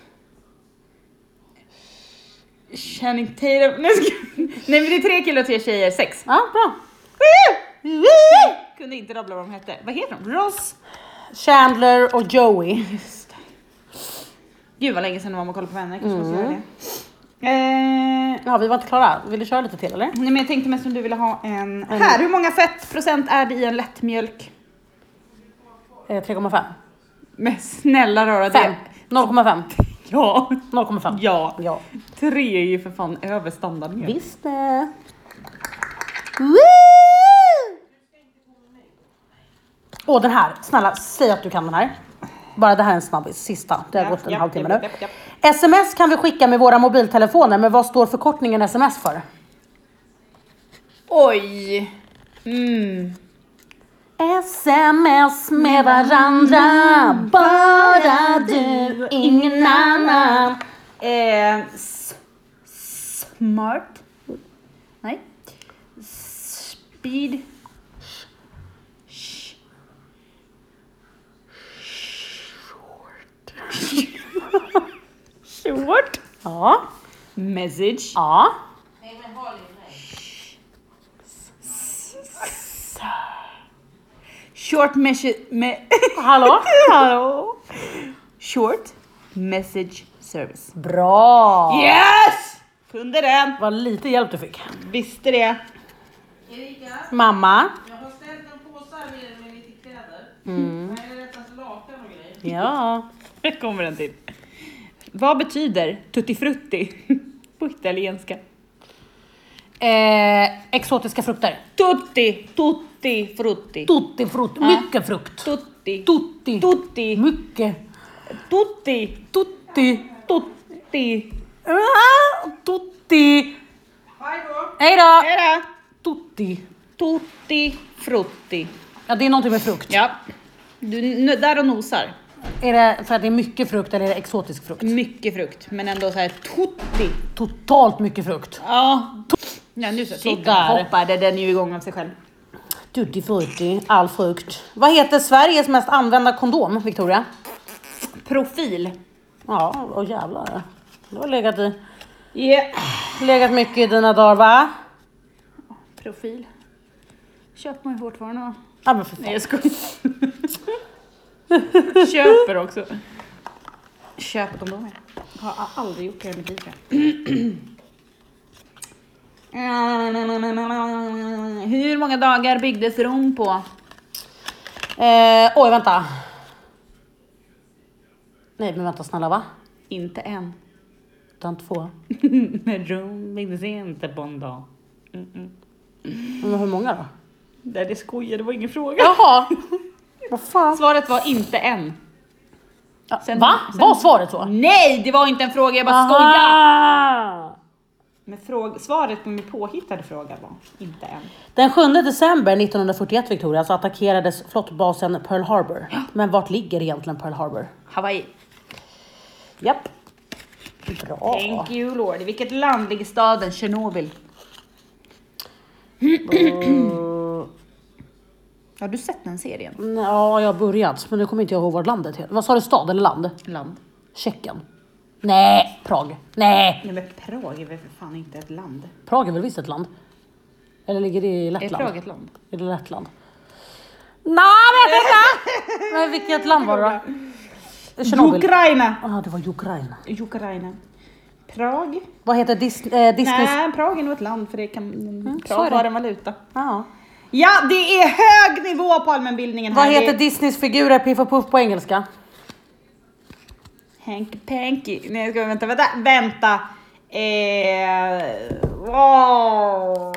Channing Tatum. Nej, ska... Nej men det är tre killar och tre tjejer, sex.
Ja, bra.
Kunde inte rabbla vad de hette. Vad heter de? Ross.
Chandler och Joey.
Just det. Gud vad länge sedan det var man kollade på vänner, kanske måste göra det. Eh,
Ja, vi var inte klara. Vill du köra lite till eller?
nej men jag tänkte mest om du ville ha en... Här, hur många fettprocent är det i en lättmjölk?
Eh, 3,5.
Men snälla röra
Fem.
det.
0,5.
Ja,
0,5.
ja.
Ja.
Tre är ju för fan över standardmjölk.
Visst det. Åh den här, snälla säg att du kan den här. Bara det här är en snabbis, sista. Det har
Ja,
gått en
ja,
halvtimme
ja,
nu.
ja,
Sms kan vi skicka med våra mobiltelefoner, men vad står förkortningen sms för?
Oj. Mm.
Sms med varandra, bara du, ingen annan.
Eh, s- smart. Nej. Speed. Sh- Short. Short.
Ja,
Message.
ja.
Nej men håll i mig.
Short message. Me
Hallå?
Hallå. Short message service.
Bra!
Yes! Kunde den.
Vad lite hjälp du fick.
Visste det.
Erika,
Mamma.
jag har ställt en påse här med, med lite kläder. Eller rättare sagt lakan och grejer.
Ja.
Här kommer den till. Vad betyder tutti frutti på italienska?
Eh, exotiska frukter.
Tutti, tutti frutti.
Tutti frukt, mycket frukt.
Tutti,
Tutti.
tutti,
Mycket.
tutti,
Tutti.
tutti.
Ah, Tutti.
Hej då!
Hej då!
Era,
Tutti.
tutti frutti.
Ja, det är någonting med frukt.
Ja, du n- där och nosar.
Är det för att det är mycket frukt eller är det exotisk frukt?
Mycket frukt, men ändå så här tutti.
Totalt mycket frukt.
Ja, ja nu så.
Sådär.
hoppade den ju igång av sig själv.
Tutti frutti, all frukt. Vad heter Sveriges mest använda kondom, Victoria?
Profil.
Ja, och jävlar. Du har legat, i,
Yeah.
legat mycket i dina dagar va?
Profil. Köper man ju fortfarande va?
Ja men för fan.
Nej jag skojar. Köper också. Köper kondomer. Har a- aldrig gjort det i mitt liv tror jag. Hur många dagar byggdes Rom på?
Eh, oj vänta. Nej men vänta snälla va?
Inte en.
Utan två.
Men Rom byggdes inte på en dag.
Men hur många då?
Nej det skojar, det var ingen fråga.
Jaha. Vad fan.
Svaret var inte en. Sen-
Va? Var svaret så?
Nej, det var inte en fråga, jag bara skojar!
Skoja!
Men fråga, svaret på min påhittade fråga var inte en.
Den 7 december 1941 Victoria så attackerades flottbasen Pearl Harbor. Men vart ligger egentligen Pearl Harbor?
Hawaii.
Japp. Bra.
Thank you Lord. I vilket land ligger staden Tjernobyl? Har du sett den serien?
Mm, Ja, jag har börjat, men nu kommer inte jag ihåg vart landet heter. Vad sa du, stad eller land?
Land.
Tjeckien? Nej, Prag. Nej,
Nej men Prag är väl för fan inte ett land?
Prag är väl visst ett land? Eller ligger det i
Är
Lettland?
Prag ett land?
Är det Lettland? Nej, jag vet inte! Men vilket land var det då? Tjernobyl?
Ukraina!
Ah, det var Ukraina.
Ukraina. Prag?
Vad heter Dis- eh, Disney?
Nej, Prag är nog ett land för det kan...
Mm, så är
Prag
det.
har en valuta.
Ja.
Ja, det är hög nivå på allmänbildningen
Vad
här.
heter
det?
Disneys figurer Piff och Puff på engelska?
Hanky Panky. Nej, ska vi vänta, vänta, vänta. Eh, åh.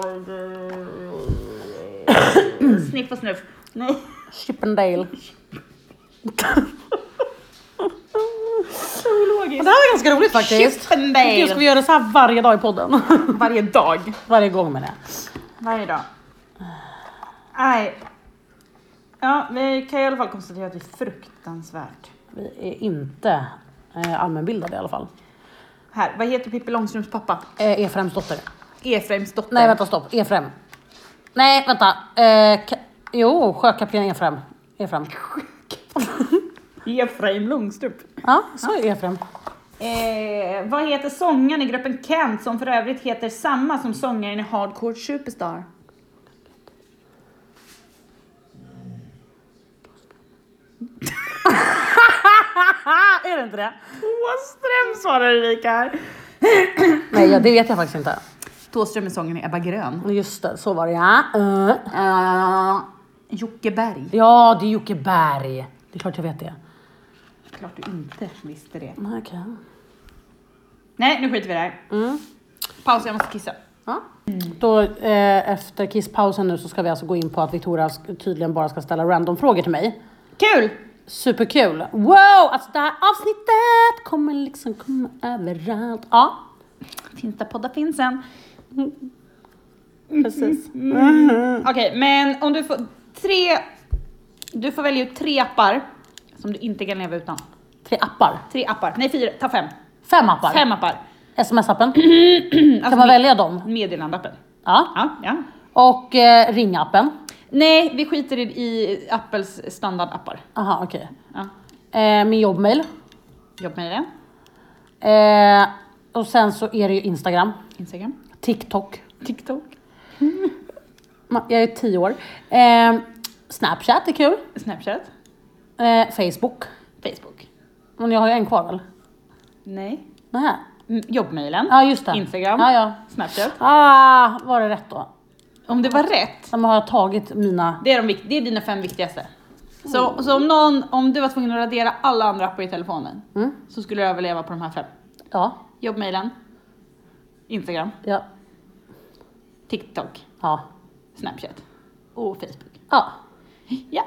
Sniff och snuff. Nej.
Chippendale.
Zoologiskt.
Det här var ganska roligt faktiskt.
Chippendale.
Gud, ska vi göra så här varje dag i podden?
Varje dag.
varje gång med det.
Varje dag. Nej. Ja, vi kan i alla fall konstatera att det är fruktansvärt.
Vi är inte eh, allmänbildade i alla fall.
Här, vad heter Pippi Långstrumps pappa?
Eh, Efraims dotter.
Efraims dotter.
Nej vänta stopp, Efraim. Nej vänta. Eh, ka- jo, sjökapten E Efraim. Efraim.
Efraim Långstrump.
Ja, så är E Efraim.
Eh, vad heter sångaren i gruppen Kent som för övrigt heter samma som sångaren i Hardcore Superstar?
Ah, är det inte det?
Åström svarar Erika här.
Nej, ja, det vet jag faktiskt inte.
Thåström är sången i Ebba Grön.
Just det, så var det ja. Eh,
Uh, Jocke Berg.
ja, det är Jocke Berg. Det är klart jag vet det.
Klart du inte visste det.
Nej, Okej.
Nej, nu skiter vi i det här.
Mm.
Paus, jag måste kissa.
Ja. Då, eh, efter kisspausen nu så ska vi alltså gå in på att Victoria sk- tydligen bara ska ställa random frågor till mig.
Kul!
Superkul! Wow! Alltså det här avsnittet kommer liksom komma överallt. Ja,
Finns där poddar finns än.
precis. Mm.
Okej, men om du får tre... Du får välja ut tre appar som du inte kan leva utan.
Tre appar.
Tre appar. Nej, fyra. Ta fem.
Fem appar.
Fem appar.
Sms-appen.
Alltså,
Kan man välja dem?
Meddelandeappen.
Ja.
Ja, ja.
Och eh, ringappen.
Nej, vi skiter i, i Apples standardappar.
Aha, okej.
Ja.
Eh, min jobbmail.
Jobbmejlen,
Eh, och sen så är det ju Instagram.
Instagram,
TikTok.
TikTok,
Ma- Jag är tio år. Eh, Snapchat är kul.
Snapchat,
Eh, Facebook.
Facebook.
Men jag har ju en kvar väl?
Nej.
Nähä.
Mm, Jobbmejlen,
Ja, just det.
Instagram,
Ja, ja.
Snapchat.
Ah, var det rätt då?
Om det var rätt,
Ja, men har jag tagit mina...
det är, de, vikt- det är dina fem viktigaste. Så, så om, någon, om du var tvungen att radera alla andra appar i telefonen
Mm.
så skulle du överleva på de här fem.
Ja,
Jobbmejlen, Instagram,
ja,
TikTok,
ja.
Snapchat och Facebook.
ja.
Ja.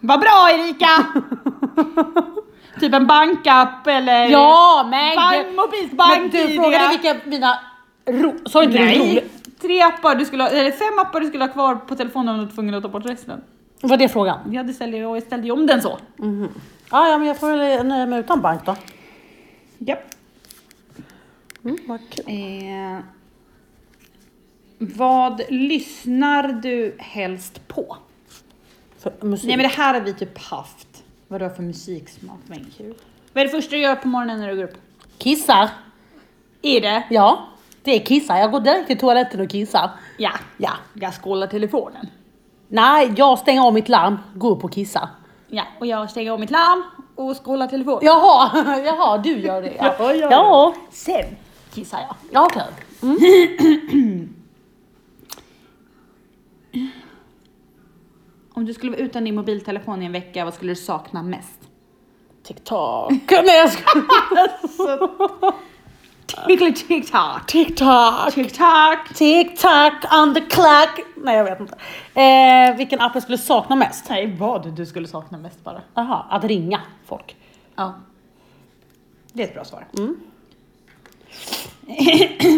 Vad bra Erika! typ en bankapp eller...
Ja, men
Bank,
du,
mobilbank
men du
tidigare.
frågade vilka mina... Ro, sa inte du
Nej!
roligt?
Tre appar du skulle ha, eller fem appar du skulle ha kvar på telefonen om du var tvungen att ta bort resten.
Var det frågan?
Jag hade ställt, jag ställde ju om den så.
Ja, ja, men jag får väl eh, nöja mig utan bank då.
Japp.
Mm, vad kul.
Eh, vad lyssnar du helst på?
För musik.
Nej men det här har vi typ haft. Vad du har för musiksmak, men kul. Vad är det första du gör på morgonen när du går upp?
Kissar.
Är det?
Ja, det är kissar. Jag går direkt till toaletten och kissar.
Ja.
Ja.
Jag skålar telefonen.
Nej, jag stänger av mitt larm, går upp och kissar.
Ja, och jag stänger av mitt larm och skålar telefonen.
Jaha, jaha, du gör det. Ja,
Ja, jag gör
ja.
Sen kissar jag.
ja okej.
Om du skulle vara utan din mobiltelefon i en vecka, vad skulle du sakna mest?
TikTok. Nej, jag ska...
Tickle TikTok.
TikTok.
TikTok.
TikTok on the clock. Nej, jag vet inte. Eh, vilken app jag skulle sakna mest?
Nej, vad du skulle sakna mest bara.
Jaha, att ringa folk.
Ja. Mm.
Det är ett bra svar.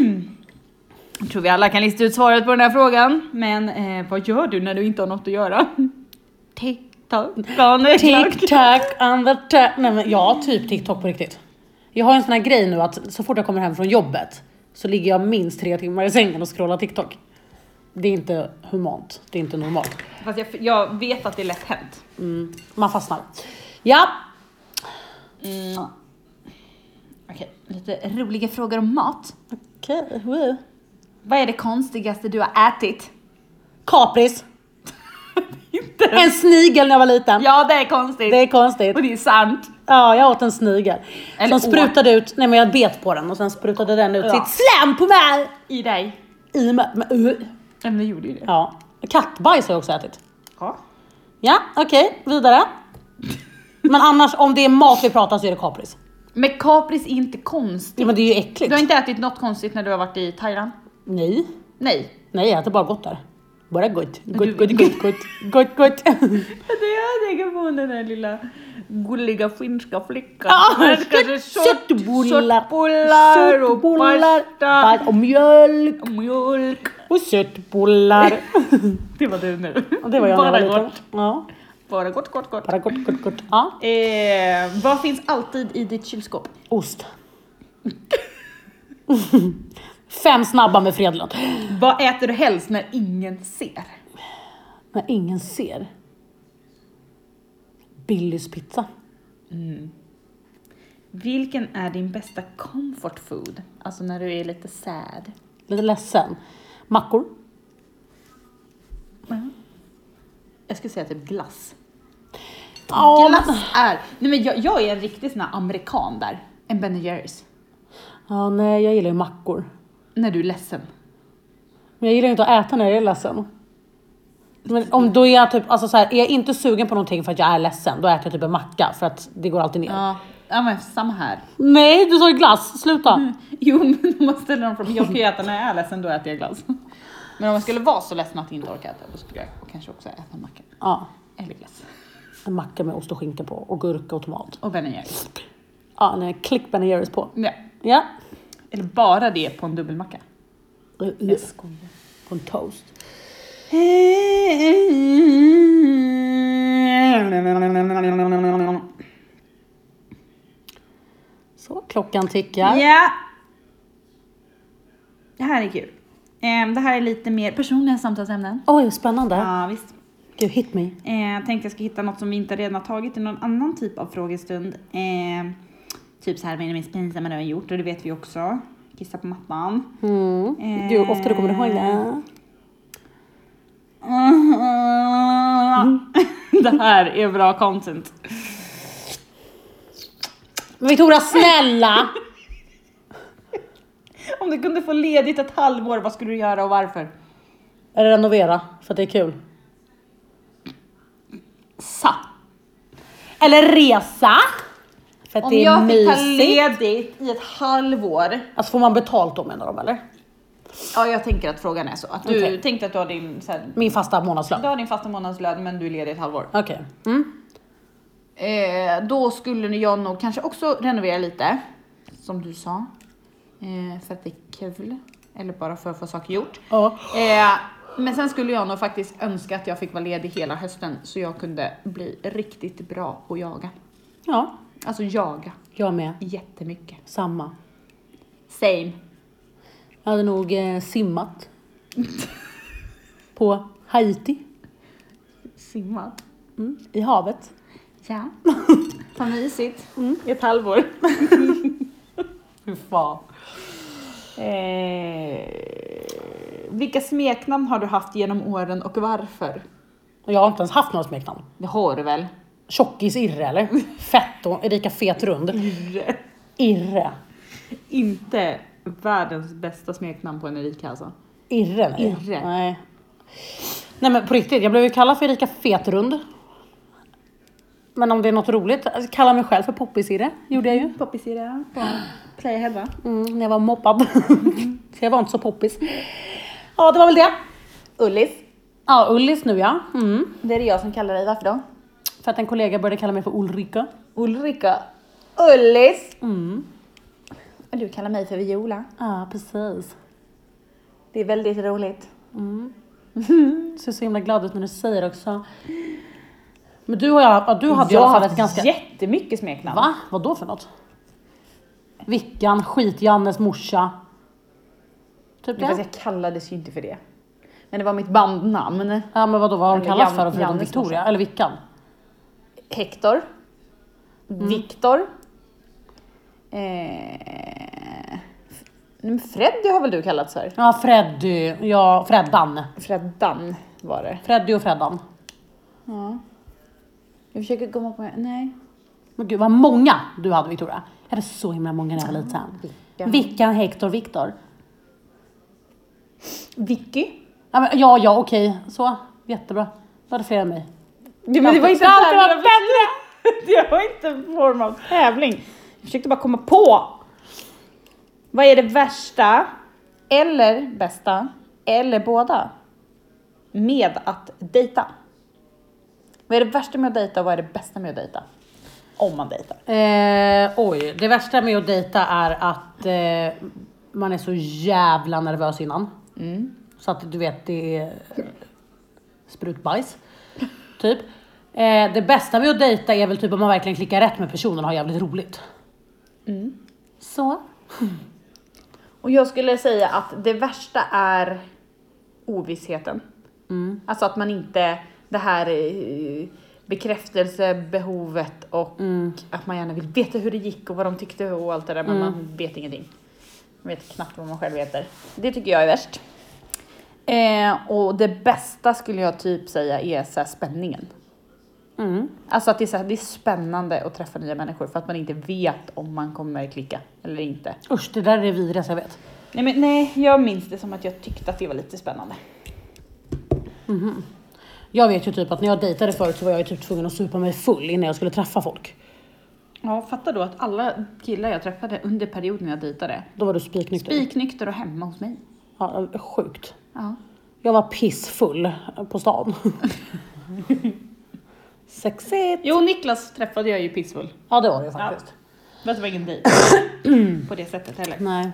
Jag tror vi alla kan lista ut svaret på den här frågan. Men eh, vad gör du när du inte har något att göra? TikTok. Ja, nu är det klart.
TikTok on the ta- Nej men jag har typ TikTok på riktigt. Jag har en sån här grej nu att så fort jag kommer hem från jobbet så ligger jag minst tre timmar i sängen och scrollar TikTok. Det är inte humant, det är inte normalt.
Fast jag, jag vet att det är lätt hänt.
Mm, man fastnar. Ja,
Mm.
Okej, lite roliga frågor om mat.
okej. wow.
Vad är det konstigaste du har ätit?
Kapris. En snigel när jag var liten.
Ja, det är konstigt.
Det är konstigt.
Och det är sant.
Ja, jag åt en snigel.
Eller
Som sprutade ut, nej men jag bet på den och sen sprutade den ut
Ja.
sitt slem på mig.
I dig.
I mig. Men, uh,
Nej, men det gjorde ju det.
Ja. Kattbajs har jag också ätit.
Ja.
Ja, okej, vidare. Men annars, om det är mat vi pratar så är det kapris.
Men kapris är inte konstigt.
Ja, men det är ju äckligt.
Du har inte ätit något konstigt när du har varit i Thailand?
Nej,
Nej.
nej jag äter bara gott där. Bara gott, gott, gott, gott, gott, gott, gott.
Det jag tänker på den där lilla gulliga finska flickan.
Ja,
Hon älskar sig
kött-
kött-
köttbullar.
köttbullar och
Köttbullar,
pasta
och mjölk
och mjölk.
och köttbullar.
Det var du nu.
Och det var jag när jag var
Bara
liten.
gott.
Ja,
Bara gott, gott, gott.
bara gott, gott, gott. Ja.
Eh, vad finns alltid i ditt kylskåp?
Ost. Fem snabba med Fredlund.
Vad äter du helst när ingen ser?
När ingen ser. Billys pizza.
Mm. Vilken är din bästa comfort food? Alltså när du är lite sad.
Lite ledsen. Mackor.
Mm. Jag skulle säga typ glass.
Ja, men-
Glass är... Nej men jag, jag är en riktig sån här amerikan där. En Ben Jerrys.
Ja, nej, jag gillar ju mackor.
När du är ledsen.
Men jag gillar ju inte att äta när jag är ledsen. Men om då är jag typ, alltså så här, är jag inte sugen på någonting för att jag är ledsen, då äter jag typ en macka för att det går alltid ner.
Ja, ja men samma här.
Nej, du sa ju glass, sluta!
Mm. Jo men om man ställer dem från... Jag kan ju äta när jag är ledsen, då äter jag glass. Men om jag skulle vara så ledsen att jag inte orkar äta, då skulle jag kanske också äta en macka.
Ja,
Eller glass.
en macka med ost och skinka på och gurka och tomat.
Och Ben Jerrys.
Ja, nej, klick Ben Jerrys på.
Ja.
Ja.
Eller bara det på en dubbelmacka.
Jag skojar. På en toast. Så, klockan tickar.
Ja. Det här är kul. Ehm, det här är lite mer personliga samtalsämnen.
Oj, spännande.
Ja, visst.
Gud, hit me.
Eh, jag tänkte jag ska hitta något som vi inte redan har tagit i någon annan typ av frågestund. Eh, typ så här, vad är det minst pinsamma du har gjort? Och det vet vi också. Kissa på mattan.
Mm. Eh. Gud, ofta du kommer ihåg det.
Mm. det här är bra content.
Men Victoria, snälla!
Om du kunde få ledigt ett halvår, vad skulle du göra och varför?
Eller renovera, för att det är kul. Sa. Eller resa. För att
Om
det är
jag fick ta
mysigt.
ledigt i ett halvår.
alltså får man betalt då menar de eller?
Ja, jag tänker att frågan är så. Att du
Okej.
tänkte att du har din, så här,
Min fasta månadslön.
du har din fasta månadslön men du är ledig ett halvår.
Okej. Mm.
Eh, då skulle jag nog kanske också renovera lite, som du sa. Eh, för att det är kul, eller bara för att få saker gjort.
Ja.
Eh, men sen skulle jag nog faktiskt önska att jag fick vara ledig hela hösten så jag kunde bli riktigt bra och jaga.
ja,
Alltså jaga
jag med.
jättemycket.
Samma.
Same.
Jag hade nog eh, simmat. På Haiti.
Simmat.
Mm. I havet.
Ja. Vad mysigt. Mm.
Ett halvår. Fy fan.
Eh, vilka smeknamn har du haft genom åren och varför?
Och jag har inte ens haft några smeknamn.
Det har du väl?
Tjockis Irre eller? Fett och Erika Fet Rund. Irre.
Inte världens bästa smeknamn på en Erika alltså.
Irre? Nej.
Irre.
Nej. Nej men på riktigt, jag blev ju kallad för Erika Fetrund. Men om det är något roligt, alltså, kalla mig själv för Poppis-Irre, gjorde jag ju.
Poppisirea på Playhead va?
Mm, när jag var moppad. så jag var inte så poppis. Ja, det var väl det.
Ullis,
Ja, Ullis nu ja. Mm.
det är det jag som kallar dig. Varför då?
För att en kollega började kalla mig för Ulrika.
Ulrika. Mm. Ullis. Du kallar mig för Viola.
Ja, precis.
Det är väldigt roligt.
Du ser så himla glad ut när du säger det också. Men du, har, ju- ja, du hade ju i alla fall ett ganska...
jättemycket smeknamn.
Va? Vad då för något? Vickan, skit-Jannes morsa. Typ
Fast
det.
jag kallades ju inte för det. Men det var mitt bandnamn.
Ja men vadå, vad har hon
Eller
kallats
Jan-
för förutom
Jannes
Victoria?
morsa.
Eller Vickan?
Hector. Viktor. Eh, men Freddy har väl du kallats för?
Ja, Freddy, ja Freddan.
Freddan var det.
Freddy och Freddan.
Ja. Jag försöker komma på... Nej.
Men gud vad många du hade Victoria. Jag hade så himla många när jag var liten.
Vickan.
Vickan, Hector, Viktor.
Vicky.
Ja, men, ja, ja okej, så. Jättebra. Du hade fler än mig.
Ja, men det var inte
Det hade
en
varit
tävling. Det var inte en form av tävling. Jag försökte bara komma på. Vad är det värsta eller bästa eller båda med att dejta? Vad är det värsta med att dejta och vad är det bästa med att dejta? Om man dejtar.
Eh, oj, det värsta med att dejta är att eh, man är så jävla nervös innan. Så att du vet, det är sprutbajs. Typ. Eh, det bästa med att dejta är väl typ om man verkligen klickar rätt med personen och har jävligt roligt. Så.
Och jag skulle säga att det värsta är ovissheten. Alltså att man inte, det här eh, bekräftelsebehovet och att man gärna vill veta hur det gick och vad de tyckte och allt det där men man vet ingenting. Man vet knappt vad man själv heter. Det tycker jag är värst. Eh, och det bästa skulle jag typ säga är så här spänningen.
Mm.
Alltså att det är, så här, det är spännande att träffa nya människor för att man inte vet om man kommer klicka eller inte.
Usch, det där är det vidrigaste jag vet.
Nej, men, nej, jag minns det som att jag tyckte att det var lite spännande.
Jag vet ju typ att när jag dejtade förut så var jag ju typ tvungen att supa mig full innan jag skulle träffa folk.
Ja, fattar då att alla killar jag träffade under perioden jag dejtade,
Då var du spiknykter.
spiknykter och hemma hos mig.
Ja, sjukt.
Ja.
Jag var pissfull på stan. Sexigt.
Jo, Niklas träffade jag ju pissfull.
Ja det var det faktiskt.
Fast det var ingen dejt på det sättet heller.
Nej.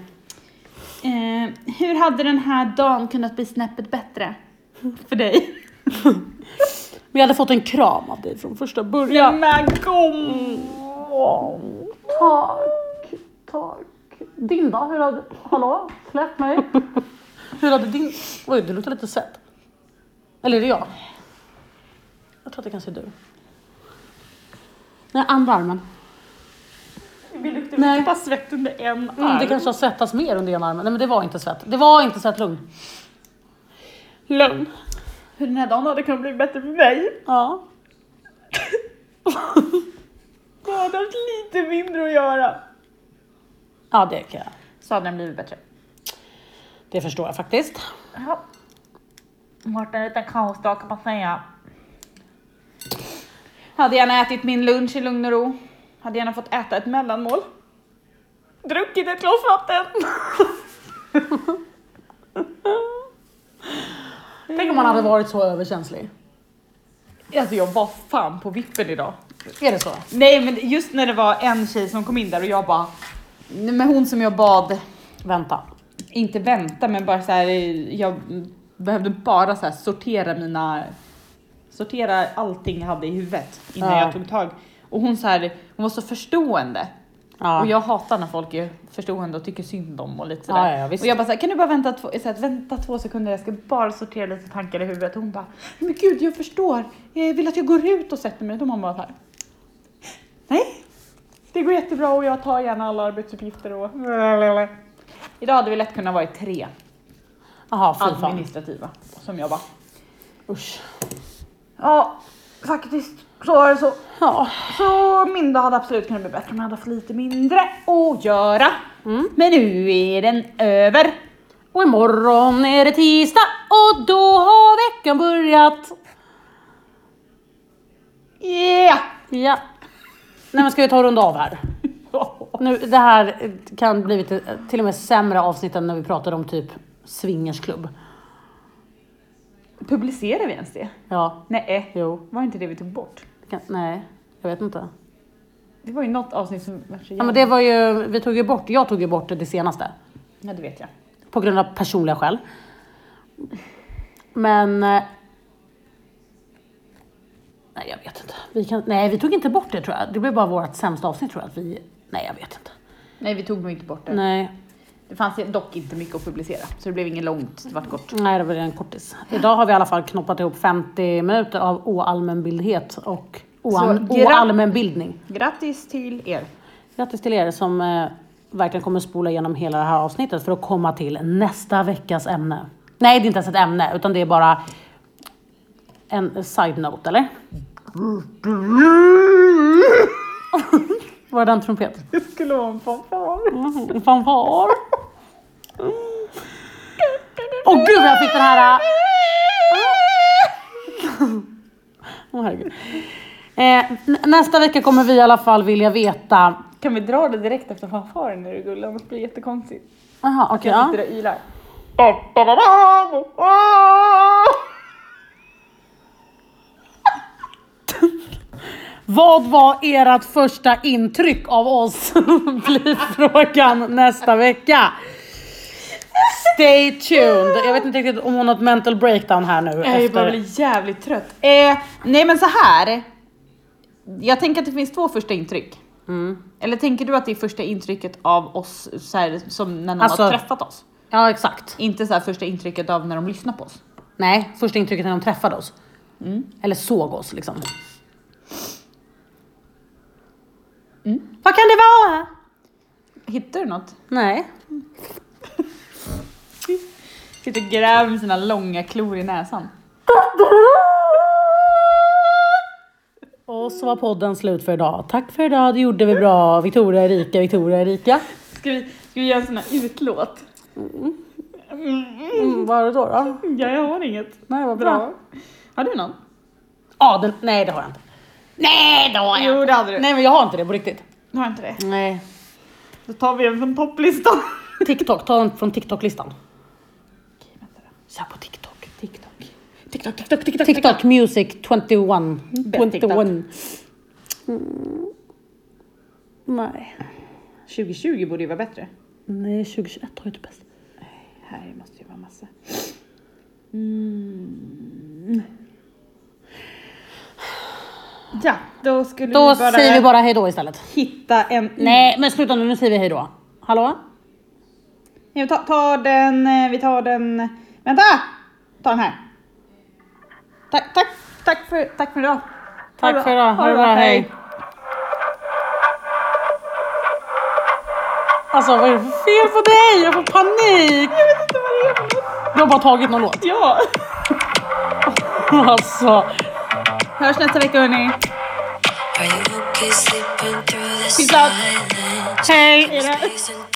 Eh, hur hade den här dagen kunnat bli snäppet bättre? För dig?
Men jag hade fått en kram av dig från första början.
Ja. Men kom!
Tack, tack. Dinda, hur hade... Hallå? Släpp mig. hur hade din... Oj, du luktar lite sött. Eller är det jag? Jag tror att det kanske är du. Nej, andra armen.
Vi luktade
Nej.
bara svett under en arm.
Mm, det kanske har svettats mer under ena armen. Nej men det var inte svett. Det var inte svett, lugn. Lugn.
Hur den här dagen hade kunnat bli bättre för mig?
Ja.
Jag hade haft lite mindre att göra.
Ja det kan jag.
Så hade den blivit bättre.
Det förstår jag faktiskt.
Ja. Martin är lite kaosdag kan man säga. Hade gärna ätit min lunch i lugn och ro. Hade gärna fått äta ett mellanmål. Druckit ett glas vatten.
Tänk om man hade varit så överkänslig.
Alltså jag var fan på vippen idag.
Är det så?
Nej men just när det var en tjej som kom in där och jag bara, nej men hon som jag bad,
Vänta.
inte vänta men bara så här, jag behövde bara så här sortera mina, sortera allting jag hade i huvudet innan
Ja.
jag tog tag. Och hon så här, hon var så förstående.
Ja.
Och jag hatar när folk är förstående och tycker synd om och lite
Ja,
sådär.
ja, ja, visst.
och jag bara såhär, kan du bara vänta två, så här, vänta två sekunder, jag ska bara sortera lite tankar i huvudet. Och hon bara, men gud jag förstår, jag vill att jag går ut och sätter mig. Och mamma var såhär, nej, det går jättebra och jag tar gärna alla arbetsuppgifter och Idag hade vi lätt kunnat vara i tre
Jaha, fy fan.
administrativa som jag bara,
Usch.
ja faktiskt så var det så.
Ja.
Så min dag hade absolut kunnat bli bättre om jag hade haft lite mindre att göra.
Mm.
Men nu är den över.
Och imorgon är det tisdag och då har veckan börjat.
Yeah!
Ja. Nej men ska vi ta och runda av här? Nu, det här kan bli lite, till och med sämre avsnitt än när vi pratade om typ swingersklubb.
Publicerar vi ens det?
Ja.
Nej, eh,
Jo.
var inte det vi tog bort?
Det Kan, nej, jag vet inte.
Det var ju något avsnitt som var så
Ja, men det var ju, vi tog ju bort, jag tog ju bort det senaste.
ja, det vet jag.
På grund av personliga skäl. Men... eh, Nej, jag vet inte. Vi kan, nej, vi tog inte bort det tror jag. Det blev bara vårt sämsta avsnitt tror jag. Att vi, nej, jag vet inte.
Nej, vi tog nog inte bort det.
Nej,
Det fanns dock inte mycket att publicera, så det blev inget långt, det vart kort.
nej det var en kortis. Idag har vi i alla fall knoppat ihop 50 minuter av oallmänbildhet och oan,
Så, gra-
oallmänbildning.
Grattis till er!
Grattis till er som eh, verkligen kommer spola igenom hela det här avsnittet för att komma till nästa veckas ämne. Nej, det är inte ens ett ämne, utan det är bara en side-note, eller? Var det en trumpet?
Det skulle vara en fanfar!
Mm, fanfar. Åh gud vad jag fick den här... äh. Åh herregud. Eh, n- nästa vecka kommer vi i alla fall vilja veta...
Kan vi dra det direkt efter fanfaren är det gulligt, annars blir det jättekonstigt.
Jaha, okej.
Jag
ja.
sitter och ylar.
Vad var ert första intryck av oss? Blir frågan nästa vecka. Stay tuned. Jag vet inte riktigt om hon har ett mental breakdown här nu.
Jag börjar bli jävligt trött. Eh, nej men så här. Jag tänker att det finns två första intryck.
Mm.
Eller tänker du att det är första intrycket av oss så här, som när någon
Alltså-
har träffat oss?
Ja, exakt.
Inte så här första intrycket av när de lyssnar på oss.
Nej, första intrycket när de träffade oss.
Mm.
Eller såg oss liksom. Vad kan det vara?
Hittar du något?
Nej.
Sitter och gräver med sina långa klor i näsan.
Och så var podden slut för idag. Tack för idag, det gjorde vi bra. Victoria Erika, Victoria Erika.
Ska vi, ska vi göra en sån här utlåt?
Mm, vad är det då? då?
Ja, jag har inget.
Nej, vad bra.
Bra. Har du någon?
Adel, nej det har jag inte. Nej det har jag
Jo, det hade du.
Nej men jag har inte det på riktigt.
Har inte det?
Nej.
Då tar vi en från topplistan.
TikTok, ta den från TikTok-listan. Sök på TikTok.
TikTok. TikTok, TikTok, TikTok.
TikTok music 21.
Bäst TikTok.
Mm.
Mm.
Nej.
2020 borde ju vara bättre.
Nej 2021 har ju inte bäst.
Här måste ju vara massa. Mm. Ja, då skulle
Då
vi Mm. bara
säger vi bara hejdå istället.
hitta en...
Nej men sluta nu, nu säger vi hejdå. Hallå?
Nej, vi tar, tar den... eh, Vi tar den... Vänta! Ta den här. Tack, tack, tack för, tack för idag.
Tack för idag. Ha det bra, hej. Alltså vad är det för fel på dig? Jag får panik!
Jag vet inte vad det är för något.
Du har bara tagit någon låt.
Ja.
Alltså.
Hörs nästa vecka hörni.
Are you okay sleeping through the
Peace out.
silence?
Hej!
Hej då.
Isn't